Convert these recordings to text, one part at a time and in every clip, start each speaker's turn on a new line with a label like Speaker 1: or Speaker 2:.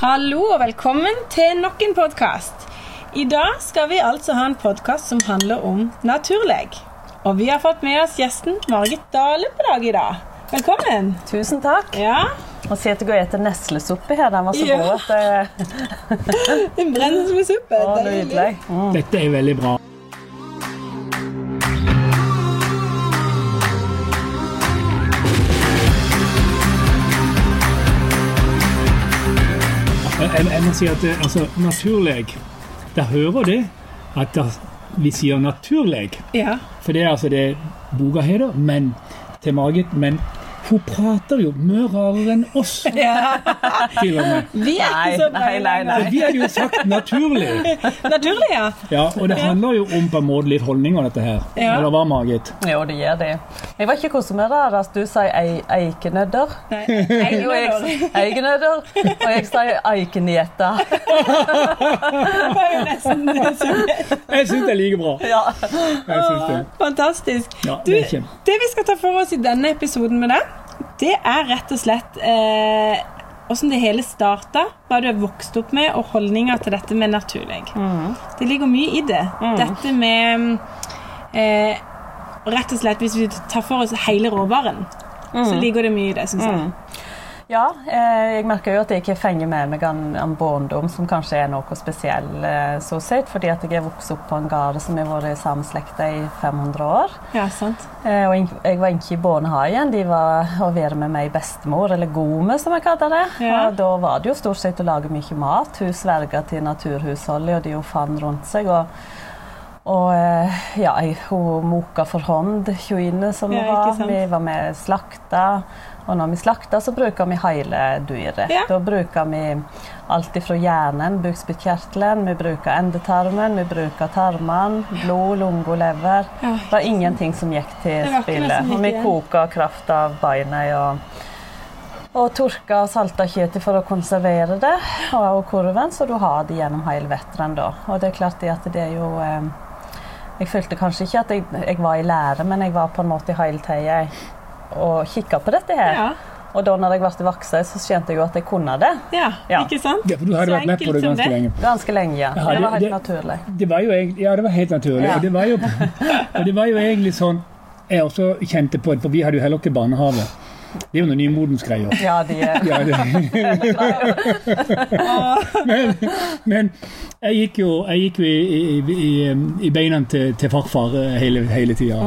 Speaker 1: Hallo og velkommen til nok en podkast. I dag skal vi altså ha en podkast som handler om naturleg. Og vi har fått med oss gjesten Margit Dale på dag i dag. Velkommen.
Speaker 2: Tusen takk.
Speaker 1: Ja,
Speaker 2: Og si at det går etter neslesuppe her. Den var så
Speaker 1: Ja.
Speaker 2: god at det
Speaker 1: den brenner som en suppe.
Speaker 2: var
Speaker 1: Deilig.
Speaker 2: nydelig. Mm.
Speaker 3: Dette er veldig bra. Jeg, jeg- jeg må si at eh, altså, naturleg, der hører det at der, vi sier naturleg.
Speaker 1: Ja.
Speaker 3: For det er altså det boka heter, men til Margit. Men hun prater jo mye rarere enn oss,
Speaker 1: ja.
Speaker 3: til og med.
Speaker 1: Vi er
Speaker 2: Nei,
Speaker 1: ikke så
Speaker 2: nei, nei, nei.
Speaker 3: Vi hadde jo sagt naturlig.
Speaker 1: Naturlig, ja.
Speaker 3: Ja, og det handler jo om på en måte litt holdninger, dette her.
Speaker 1: Ja.
Speaker 3: Eller hva, Margit?
Speaker 2: Jo, det gjør det. Jeg var ikke koset med det at du sier ei, eikenødder.
Speaker 1: Nei,
Speaker 2: Og jeg- Eikenødder. Og jeg sier eikenjetta.
Speaker 1: det var jo nesten
Speaker 3: Jeg syns det er like bra.
Speaker 2: Ja.
Speaker 3: Jeg synes det.
Speaker 1: Fantastisk.
Speaker 3: Ja,
Speaker 1: Du,
Speaker 3: det er kjem-
Speaker 1: det vi skal ta for oss i denne episoden med deg, det er rett og slett eh, hvordan det hele starta, hva du har vokst opp med, og holdninger til dette med naturlig.
Speaker 2: Mhm.
Speaker 1: Det ligger mye i det. Dette med eh, Rett og slett, hvis vi tar for oss hele råvaren, så
Speaker 2: Mhm.
Speaker 1: ligger det mye i det, syns jeg.
Speaker 2: Ja, eh, jeg merker jo at jeg ikke fenger med meg en, en barndom som kanskje er noe spesiell, eh, så sett, fordi at jeg er vokst opp på en gard som har vært i samslekta i 500 år.
Speaker 1: Ja, sant.
Speaker 2: Eh, Og jeg- jeg var ikke i barnehagen. De var å være med meg bestemor, eller gome, som jeg kaller det.
Speaker 1: Ja.
Speaker 2: Og da var det jo stort sett å lage mye mat. Hun sverga til naturhusholdet, og de hun fant rundt seg. Og, og eh, ja, jeg- hun moka for hånd, tjuine som hun
Speaker 1: Ja, ikke
Speaker 2: var.
Speaker 1: sant.
Speaker 2: Vi var med slakta. Og når vi slakta, så bruker vi hele dyret.
Speaker 1: Ja.
Speaker 2: Da bruker vi alt ifra hjernen, bukspyttkjertelen, vi bruker endetarmen, vi bruker tarmene, blod, lunge og lever.
Speaker 1: Ja,
Speaker 2: Det var ingenting som gikk til
Speaker 1: Det var ikke noe
Speaker 2: spille.
Speaker 1: som gikk
Speaker 2: Og vi
Speaker 1: igjen.
Speaker 2: koka kraft av beina og, og tørka og salta kjøttet for å konservere det. Og, og kurven, så du har det gjennom hele vinteren da. Og det er klart det at det er jo eh, Jeg følte kanskje ikke at jeg, jeg var i lære, men jeg var på en måte hele tida og kikka på dette her.
Speaker 1: Ja,
Speaker 2: Og da når jeg ble voksen, så skjønte jeg jo at jeg kunne det.
Speaker 1: ja,
Speaker 2: Ja.
Speaker 1: ikke sant?
Speaker 3: Ja, for du hadde
Speaker 1: Så
Speaker 3: vært med på det
Speaker 1: enkelt som
Speaker 3: ganske
Speaker 1: det.
Speaker 3: lenge.
Speaker 2: Ganske lenge. Ja,
Speaker 3: Ja,
Speaker 2: det var
Speaker 3: det-
Speaker 2: helt
Speaker 3: det-
Speaker 2: naturlig.
Speaker 3: Det var jo egentlig, ja, det var helt naturlig.
Speaker 2: Ja.
Speaker 3: Og, det var jo, og det var jo egentlig sånn jeg også kjente på det, for vi hadde jo heller ikke barnehage. Det er jo noen nymodens greier.
Speaker 2: Ja, de er
Speaker 3: Ja, det. men, men jeg gikk jo, jeg gikk jo i, i, i, i beina til, til farfar eh, hele, hele tida.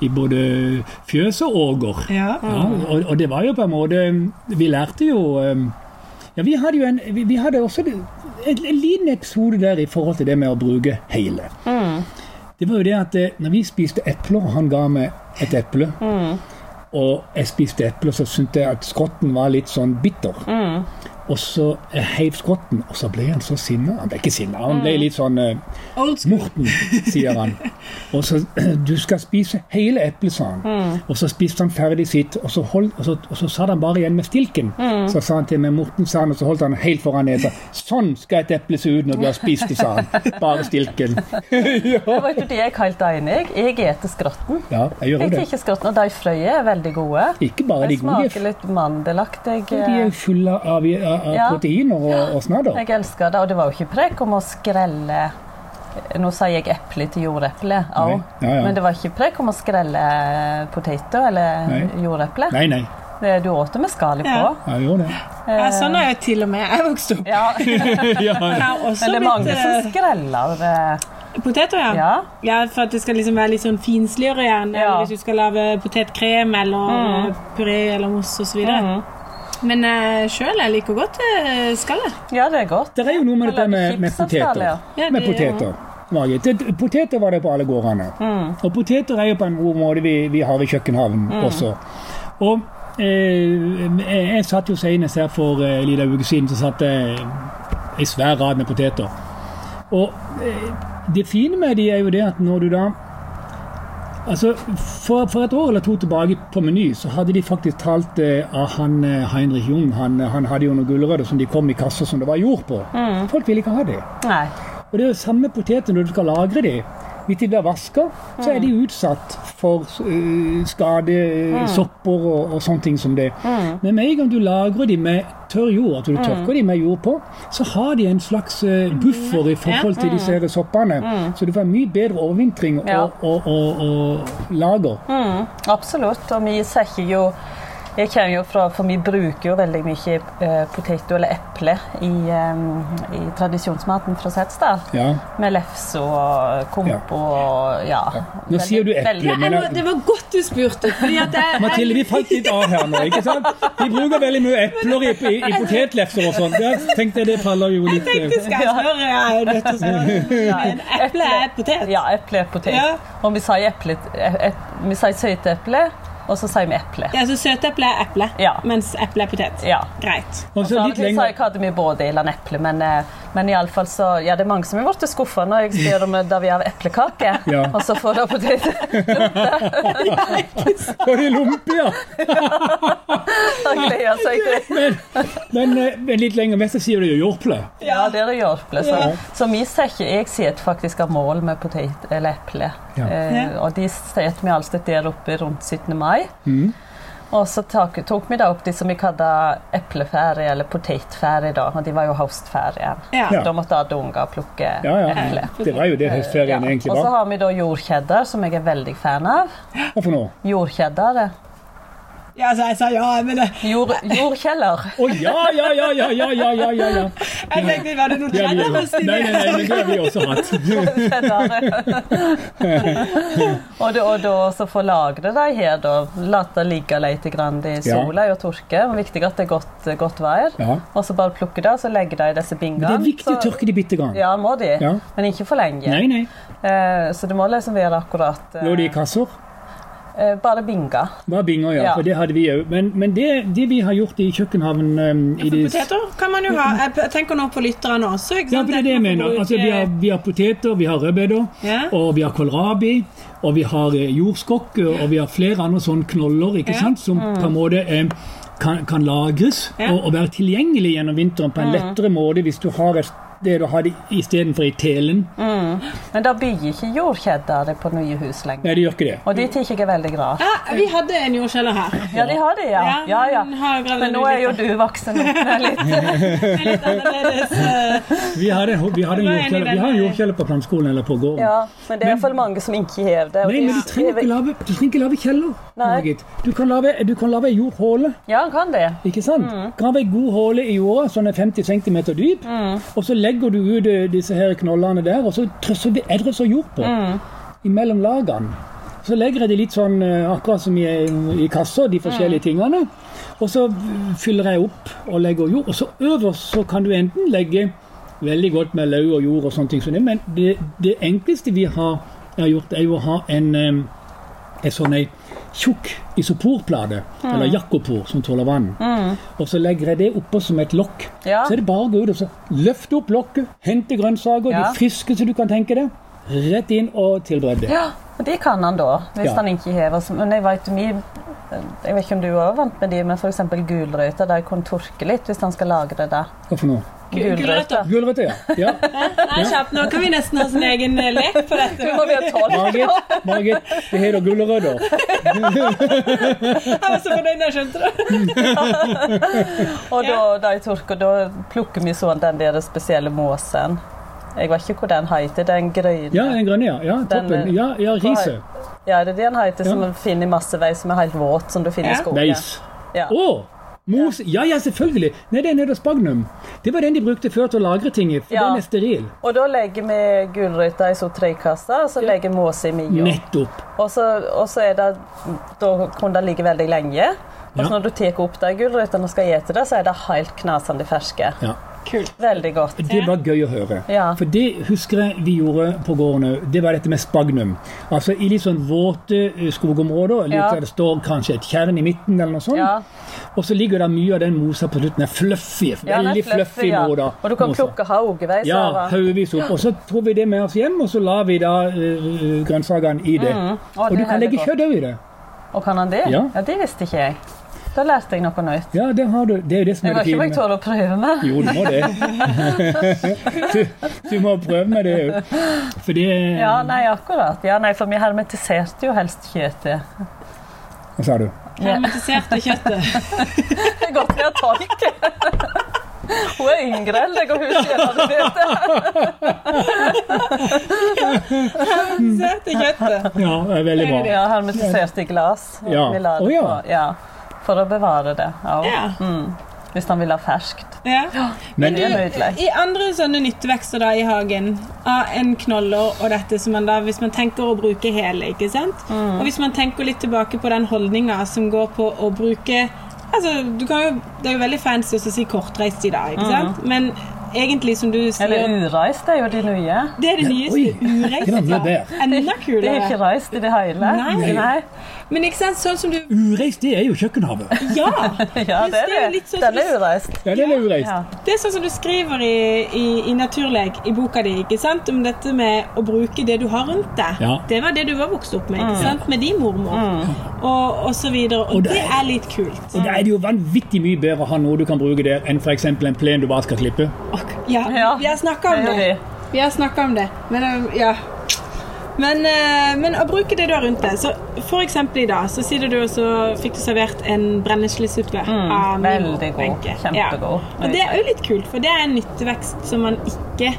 Speaker 3: I både fjøs og åger.
Speaker 1: Ja.
Speaker 3: Ja, og, og det var jo på en måte eh, Vi lærte jo um, Ja, vi hadde jo en Vi, vi hadde også en, en liten episode der i forhold til det med å bruke hele.
Speaker 1: Mm.
Speaker 3: Det var jo det at eh, når vi spiste epler, og han ga meg et eple,
Speaker 1: Mm.
Speaker 3: og jeg spiste eple, så syntes jeg at skrotten var litt sånn bitter.
Speaker 1: Mm.
Speaker 3: Og så eh, heiv skrotten, og så ble han så sinna. Han ble ikke sinna, han ble litt sånn eh,
Speaker 1: Mm. Old school.
Speaker 3: Morten, sier han. Og så, du skal spise hele eplet, sa han.
Speaker 2: Mm.
Speaker 3: Og så spiste han ferdig sitt, og så, hold, og så, og så satt han bare igjen med stilken.
Speaker 2: Mm.
Speaker 3: Så sa han til meg, Morten, sa han, og så holdt han helt foran nesa. Sånn skal et eple se ut når du har spist det, sa han. Bare stilken.
Speaker 2: Det var ikke det jeg er helt enig i. Jeg eter skrotten.
Speaker 3: Ja, jeg gjør
Speaker 2: Jeg
Speaker 3: jo det.
Speaker 2: liker skrotten, og de frøene er veldig gode.
Speaker 3: Ikke bare de
Speaker 2: Det
Speaker 3: gode.
Speaker 2: smaker litt mandelaktig.
Speaker 3: De er jo fulle av, av, av
Speaker 2: Ja.
Speaker 3: proteiner og, og snadder.
Speaker 2: Jeg elsker det, og det var jo ikke prek om å skrelle Nå sier jeg eple til jordeple, au.
Speaker 3: Nei, ja, ja.
Speaker 2: men det var ikke prek om å skrelle poteter eller
Speaker 3: Nei.
Speaker 2: jordeple.
Speaker 3: Nei, nei.
Speaker 2: Det- Du åt det med skallet
Speaker 1: Ja.
Speaker 2: på.
Speaker 3: Jeg gjør det.
Speaker 1: Ja, sånn har jeg til og med jeg vokst opp.
Speaker 2: Ja.
Speaker 3: Ja,
Speaker 1: Jeg
Speaker 3: ja.
Speaker 1: har også
Speaker 2: Men det er mange som
Speaker 3: eh,
Speaker 1: blitt
Speaker 2: skreller eh,
Speaker 1: eh, poteter, ja.
Speaker 2: Ja.
Speaker 1: Ja, for at det skal liksom være litt sånn finsligere gjerne.
Speaker 2: Ja. Mm.
Speaker 1: Hvis du skal lage potetkrem eller eh, puré eller mousse osv. videre. Men uh, sjøl jeg liker godt eh, skallet.
Speaker 2: ja, det er godt.
Speaker 3: Det er jo noe med
Speaker 2: Og
Speaker 3: dette
Speaker 2: lager
Speaker 3: med, med
Speaker 2: chips av skall,
Speaker 3: poteter.
Speaker 2: ja.
Speaker 1: Ja,
Speaker 3: Med
Speaker 1: det-
Speaker 3: poteter. Margit. Det- Poteter var det på alle gårdene.
Speaker 1: Mm.
Speaker 3: Og poteter er jo på en god måte vi, vi har i kjøkkenhavnen også. Og eh, jeg jeg satt jo senest her for eh, en liten uke siden, så satt jeg en svær rad med poteter. Og eh, det fine med de er jo det at når du da Altså, for, for et år eller to tilbake på Meny så hadde de faktisk talt eh, av han eh, Heinrich Jung. Han, han hadde jo noen gulrøtter som de kom i kasser
Speaker 1: Mm.
Speaker 3: som det var jord på. Folk ville ikke ha det.
Speaker 2: Nei.
Speaker 3: Og det er jo samme poteter når du skal lagre de. Hvis de blir vaska, så er de
Speaker 1: Mm.
Speaker 3: utsatt for eh, skade, eh, sopper og, og sånne ting som det.
Speaker 1: Mm.
Speaker 3: Men med en gang du lagrer de med tørr jord, at du tørker de med jord på, så har de en slags eh, buffer i forhold til disse her soppene.
Speaker 1: Mm.
Speaker 3: Så du får mye bedre overvintring og,
Speaker 2: Ja.
Speaker 3: og, og, og, lager.
Speaker 2: Mm, absolutt. Og vi sekker jo jeg kommer jo fra, for Vi bruker jo veldig mye eh, potet eller eple i, eh, i tradisjonsmaten fra Setesdal.
Speaker 3: Ja.
Speaker 2: Med lefse og kompo og ja.
Speaker 3: Nå
Speaker 2: Veldig-
Speaker 3: sier du eple,
Speaker 2: veldig-
Speaker 1: Jeg må,
Speaker 3: Men-
Speaker 1: det var godt du spurte, fordi at jeg, jeg
Speaker 3: Mathilde, vi falt litt av her nå. ikke sant? Vi bruker veldig mye epler i, i, i potetlefser og sånn. Der tenkte jeg det faller jo litt
Speaker 1: tenkte skal jeg spørre. Jeg er jo nødt til å spørre. Men eple er potet.
Speaker 2: Ja, eple er potet.
Speaker 1: Ja.
Speaker 2: Og vi sier eple, ep, ep, vi sier søteple, og så sier vi eple.
Speaker 1: Ja, så søteple er eple,
Speaker 2: Ja.
Speaker 1: mens eple er potet.
Speaker 2: Ja.
Speaker 1: Greit.
Speaker 3: øh, Og
Speaker 2: Og
Speaker 3: så
Speaker 2: så
Speaker 3: litt
Speaker 2: hadde vi
Speaker 3: lenger.
Speaker 2: sagt hadde vi både eller en eple, men, eh, men iallfall så Ja, det er mange som er blitt skuffa når jeg spør om eh, da vi har eplekake,
Speaker 3: Ja.
Speaker 2: og så får de potet.
Speaker 3: Og de lumper, ja.
Speaker 2: Da gleder seg til
Speaker 3: Men, men, eh, men litt lenger vest så sier du jo jordple.
Speaker 2: Ja, det er det hjelpelig. Så,
Speaker 3: Ja.
Speaker 2: så vi setter Jeg setter faktisk av mål med potet eller eple.
Speaker 3: Ja.
Speaker 2: Eh,
Speaker 1: Ja.
Speaker 2: og de setter vi alltid der oppe rundt 17. mai.
Speaker 3: Mm.
Speaker 2: Og så tok, tok vi da opp de som vi kalte epleferie eller potetferie, da. Og de var jo høstferien.
Speaker 1: Ja.
Speaker 3: Ja.
Speaker 2: Da måtte alle unger plukke
Speaker 3: Ja, ja.
Speaker 2: eple.
Speaker 3: Det var jo det
Speaker 2: Ja.
Speaker 3: høstferien egentlig
Speaker 2: Og så
Speaker 3: var.
Speaker 2: har vi da jordkjedder, som jeg er veldig fan av.
Speaker 3: Hva for noe?
Speaker 2: Jordkjedder. det.
Speaker 1: Ja, så jeg sa ja, men det-
Speaker 2: Jord, jordkjeller.
Speaker 3: Å ja, ja, ja, ja, ja, ja, ja, ja, ja.
Speaker 1: jeg tenkte, var det noe
Speaker 3: Det har vi jo.
Speaker 1: kjennere
Speaker 3: Nei, nei, nei, men det har vi også hatt.
Speaker 2: og, da, og da så få lagre de her, da. La det ligge litt grann i sola og tørke. Og Viktig at det er godt, godt vær.
Speaker 3: Ja.
Speaker 2: Og så bare plukke det, og så legge det i disse
Speaker 3: Men
Speaker 2: bingene.
Speaker 3: det er viktig å
Speaker 2: Så-
Speaker 3: tørke de bitte grann.
Speaker 2: Ja, må de.
Speaker 3: Ja.
Speaker 2: Men ikke for lenge.
Speaker 3: Nei, nei.
Speaker 2: Eh, så det må liksom være akkurat eh,
Speaker 3: Lå de i kasser?
Speaker 2: eh, Bare binga.
Speaker 3: Bare binger, ja.
Speaker 2: Ja.
Speaker 3: For det hadde vi òg. Men, men det, det vi har gjort i kjøkkenhaven eh, i
Speaker 1: For
Speaker 3: de
Speaker 1: poteter kan man jo ha. Jeg tenker nå på lytterne også. Ikke sant?
Speaker 3: Ja, for det er det jeg mener. Altså, vi, har, vi har poteter, vi har rødbeter,
Speaker 1: Ja.
Speaker 3: og vi har kålrabi, og vi har eh, jordskokk, og vi har flere andre sånne knoller ikke
Speaker 1: Ja. Mm.
Speaker 3: sant, som på en måte eh, kan, kan lagres
Speaker 1: Ja. Mm.
Speaker 3: og, og være tilgjengelig gjennom vinteren på en lettere måte hvis du har et det du har istedenfor i telen.
Speaker 1: Mm.
Speaker 2: Men det blir ikke jordkjedder på nye hus lenger.
Speaker 3: Nei, det gjør ikke det.
Speaker 2: Og de tykker jeg er veldig glad.
Speaker 1: Ja, vi hadde en jordkjeller her.
Speaker 2: Ja, de har det, ja.
Speaker 1: Ja,
Speaker 2: ja, ja.
Speaker 1: men har gravd
Speaker 2: Men nå
Speaker 1: den
Speaker 2: er jo
Speaker 1: litt.
Speaker 2: du voksen opp med litt
Speaker 1: Det er Litt annerledes. eh,
Speaker 3: Vi har en, vi har en
Speaker 1: Jeg var enig i
Speaker 3: jordkjeller vi
Speaker 1: den.
Speaker 3: har en jordkjeller på planteskolen eller på gården.
Speaker 2: Ja, men det er iallfall mange som ikke har det. og
Speaker 3: Nei,
Speaker 2: de-
Speaker 3: men du trenger ikke lage, du trenger ikke lage kjeller.
Speaker 2: Nei.
Speaker 3: Margit. Du kan lage, du kan lage jordhåle.
Speaker 2: Ja, han kan det.
Speaker 3: Ikke sant? Grave ei god håle i jorda, sånn er 50 cm dyp. Og så legger du ut eh, disse her knollene der, og så trøsser vi edres og jord på. Imellom lagene. Så legger jeg de litt sånn eh, akkurat som i, i kasser, de forskjellige tingene. Og så fyller jeg opp og legger jord. Og så øverst så kan du enten legge veldig godt med løv og jord og sånne ting som det, men det, det enkleste vi har, har gjort, er jo å ha en eh, en sånn ei tjukk isoporplate, eller jakopor, som tåler vann. Og så legger jeg det oppå som et lokk.
Speaker 2: Mm, Ja.
Speaker 3: Så er det bare å gå ut og så løfte opp lokket, hente grønnsaker,
Speaker 2: Ja.
Speaker 3: de friskeste du kan tenke deg. Rett inn og tilbered det.
Speaker 2: Ja, og de kan han da, hvis
Speaker 3: Ja.
Speaker 2: han ikke hever. så- Men jeg vet, vi, jeg vet ikke om du er vant med de, men f.eks. gulrøtter, der jeg kan tørke litt hvis han skal lagre det.
Speaker 3: Hva for noe?
Speaker 1: Gul- gulrøtter.
Speaker 3: Gulrøtter, ja. ja.
Speaker 1: Nei, kjapt, nå kan vi nesten ha sin egen eh, lek på dette.
Speaker 2: Du må være tolv.
Speaker 3: Margit, Margit, det heter gulrøtter.
Speaker 1: Jeg var så fornøyd da jeg skjønte det.
Speaker 2: Og da, da jeg tørker, da plukker vi sånn den der spesielle måsen. Jeg vet ikke hvor den heter. Den grønne.
Speaker 3: Ja, den grønne, ja. ja toppen.
Speaker 2: Den- eh,
Speaker 3: Ja, ja riset.
Speaker 2: Ja, det er den heter som
Speaker 3: Ja.
Speaker 2: du finner i masse vei, som er helt våt, som du finner i
Speaker 1: Ja.
Speaker 2: skogen.
Speaker 3: Beis.
Speaker 2: Ja.
Speaker 3: Å! Mos. Ja, ja, selvfølgelig. Nei, det er nede hos Spagnum. Det var den de brukte før til å lagre ting i, for
Speaker 2: Ja.
Speaker 3: den er steril.
Speaker 2: Og da legger vi gulrøtter i så tre kasser, og så legger vi måse i mia.
Speaker 3: Nettopp.
Speaker 2: Og så, og så er det Da kan det ligge veldig lenge. Og
Speaker 3: Ja.
Speaker 2: så når du tar opp de gulrøttene og skal ete det, så er det helt knasende ferske.
Speaker 3: Ja.
Speaker 1: Kult.
Speaker 2: Veldig godt.
Speaker 3: Det var gøy å høre.
Speaker 2: Ja.
Speaker 3: For det husker jeg vi gjorde på gården òg. Det var dette med spagnum. Altså I litt sånn våte eh, skogområder, litt
Speaker 2: Ja.
Speaker 3: der det står kanskje et tjern i midten, eller noe sånt.
Speaker 2: Ja.
Speaker 3: Og så ligger det mye av den mosa på slutten. Den er fluffy.
Speaker 2: Ja, den er
Speaker 3: veldig fluffy,
Speaker 2: ja.
Speaker 3: moda.
Speaker 2: Og du kan
Speaker 3: mosa.
Speaker 2: plukke haugeveis
Speaker 3: Ja,
Speaker 2: av den.
Speaker 3: haugevis opp. Og så tok vi det med oss hjem, og så la vi da eh, grønnsakene i det.
Speaker 2: Mm. Å,
Speaker 3: Og
Speaker 2: det
Speaker 3: du
Speaker 2: er
Speaker 3: kan
Speaker 2: veldig
Speaker 3: legge
Speaker 2: godt.
Speaker 3: kjøtt òg i det.
Speaker 2: Og kan han det?
Speaker 3: Ja.
Speaker 2: Det visste ikke jeg. Da lærte jeg noe nytt.
Speaker 3: Ja, det har du. Det er jo det som
Speaker 2: Jeg
Speaker 3: er
Speaker 2: vet
Speaker 3: det
Speaker 2: ikke om
Speaker 3: fine.
Speaker 2: jeg tør å prøve meg.
Speaker 3: Jo, du må det. du, du må prøve med det òg. For det
Speaker 2: Ja, nei, akkurat. Ja, nei, for vi hermetiserte jo helst kjøttet.
Speaker 3: Hva sa du?
Speaker 2: Ja.
Speaker 1: Hermetiserte kjøttet.
Speaker 2: Det er godt vi har tolk. Hun er yngre enn deg, og hun kjenner det bedre.
Speaker 1: Hermetiserte kjøttet.
Speaker 3: Ja, det er veldig bra.
Speaker 2: Ja, hermetiserte glass.
Speaker 3: Ja.
Speaker 2: Vi la det
Speaker 3: Å, ja.
Speaker 2: på, ja. For å bevare det. Ja.
Speaker 1: Ja.
Speaker 2: Mm. Hvis han vil ha ferskt.
Speaker 1: Ja.
Speaker 3: Men
Speaker 1: Du,
Speaker 2: Det er noe utlagt.
Speaker 1: I andre sånne nyttevekster da i hagen, av en knoller og dette som man da, hvis man tenker å bruke hele, ikke sant?
Speaker 2: Mm.
Speaker 1: Og hvis man tenker litt tilbake på den holdninga som går på å bruke altså, du kan jo, Det er jo veldig fancy å si kortreist i dag, ikke sant? Men egentlig, som du
Speaker 2: Mm. Eller
Speaker 1: sier,
Speaker 2: ureist er jo de nye.
Speaker 1: det er det
Speaker 3: Oi,
Speaker 1: nyeste. Ureist.
Speaker 3: det var mye
Speaker 1: ja.
Speaker 3: bedre.
Speaker 1: Enda
Speaker 2: De er ikke
Speaker 1: kulere.
Speaker 2: reist i det hele.
Speaker 1: Nei.
Speaker 2: Nei.
Speaker 1: Men ikke sant, sånn som du
Speaker 3: eh, Ureist, det er jo kjøkkenhavet.
Speaker 1: Ja!
Speaker 2: Ja,
Speaker 1: Men
Speaker 2: det
Speaker 1: det er
Speaker 2: er
Speaker 1: jo
Speaker 2: det.
Speaker 1: litt sånn som
Speaker 2: Den er
Speaker 1: du-
Speaker 2: ureist.
Speaker 3: Ja, det er
Speaker 2: Ja.
Speaker 3: ureist.
Speaker 1: Det er sånn som du skriver i, i, i Naturleg, i boka di, ikke sant? om dette med å bruke det du har rundt deg.
Speaker 3: Ja.
Speaker 1: Det var det du var vokst opp med, ikke sant? med din mormor og, og så videre. Og,
Speaker 3: Og det-
Speaker 1: det er litt kult.
Speaker 3: Og da er det jo vanvittig mye bedre å ha noe du kan bruke der, enn f.eks. en plen du bare skal klippe.
Speaker 1: Ok, Ja,
Speaker 2: Ja,
Speaker 1: vi har snakka om
Speaker 2: det
Speaker 1: det.
Speaker 2: er det.
Speaker 1: Vi har snakka om det, men um, ja. Men, eh, men å bruke det du har rundt deg så For eksempel i dag så sitter du og så fikk du servert en brenneslesuppe av min
Speaker 2: Mm, veldig god.
Speaker 1: Wenche.
Speaker 2: Kjempegod.
Speaker 1: Ja. Og det er jo litt kult, for det er en nyttevekst som man ikke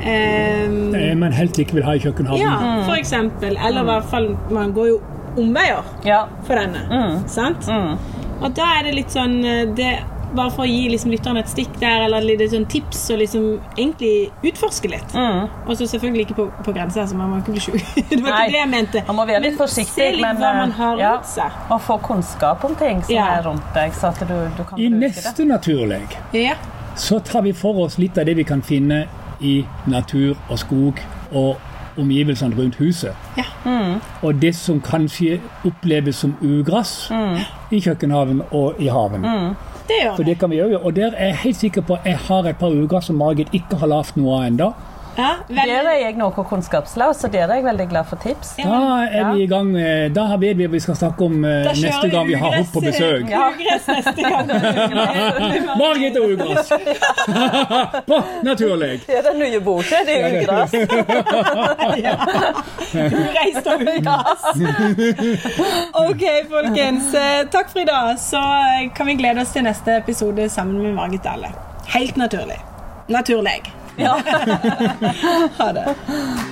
Speaker 1: eh,
Speaker 3: Eh, Men helst ikke vil ha i
Speaker 1: Ja,
Speaker 3: kjøkkenhaven.
Speaker 2: Mm.
Speaker 1: for eksempel. Eller i hvert fall Man går jo omveier
Speaker 2: Ja.
Speaker 1: for denne. Sant?
Speaker 2: Mm.
Speaker 1: Og da er det litt sånn eh, det, Bare for å gi liksom, lytterne et stikk der, eller et lite sånn tips, og liksom egentlig utforske litt.
Speaker 2: Mm.
Speaker 1: Og så selvfølgelig ikke på, på grensa, så man må ikke bli sjuk. Det var
Speaker 2: Nei,
Speaker 1: ikke det jeg mente.
Speaker 2: man må være litt forsiktig,
Speaker 1: se litt
Speaker 2: men,
Speaker 1: hva
Speaker 2: eh,
Speaker 1: man har
Speaker 2: ja.
Speaker 1: rundt seg.
Speaker 2: Å få kunnskap om ting som
Speaker 1: Ja.
Speaker 2: er rundt deg, så at du, du kan
Speaker 3: I
Speaker 2: bruke det.
Speaker 3: neste naturleg
Speaker 1: Ja.
Speaker 3: så tar vi for oss litt av det vi kan finne i natur og skog og omgivelsene rundt huset.
Speaker 1: Ja.
Speaker 3: Og det som kanskje oppleves som ugress i kjøkkenhaven og i haven.
Speaker 1: Det gjør
Speaker 3: For
Speaker 1: det.
Speaker 3: det kan vi gjøre. Og der er jeg helt sikker på at jeg har et par ugress som Margit ikke har lagd noe av ennå.
Speaker 1: Ja, veldig-
Speaker 2: Der er jeg noe kunnskapsløs, så der er jeg veldig glad for tips.
Speaker 1: Ja.
Speaker 3: Da er vi i gang. med- Da vet vi hva vi skal snakke om eh,
Speaker 1: Da kjører
Speaker 3: neste gang vi har
Speaker 1: ugress-
Speaker 3: henne på besøk.
Speaker 2: Ja.
Speaker 1: Ugress neste gang.
Speaker 3: Margit og ugress! på naturlig.
Speaker 2: Det er den nye boka, det er ugress.
Speaker 1: Ureist og ugress. OK, folkens. eh, Takk for i dag. Så eh, kan vi glede oss til neste episode sammen med Margit Dale. Helt naturlig. Naturlig.
Speaker 2: Ja.
Speaker 1: Ha det.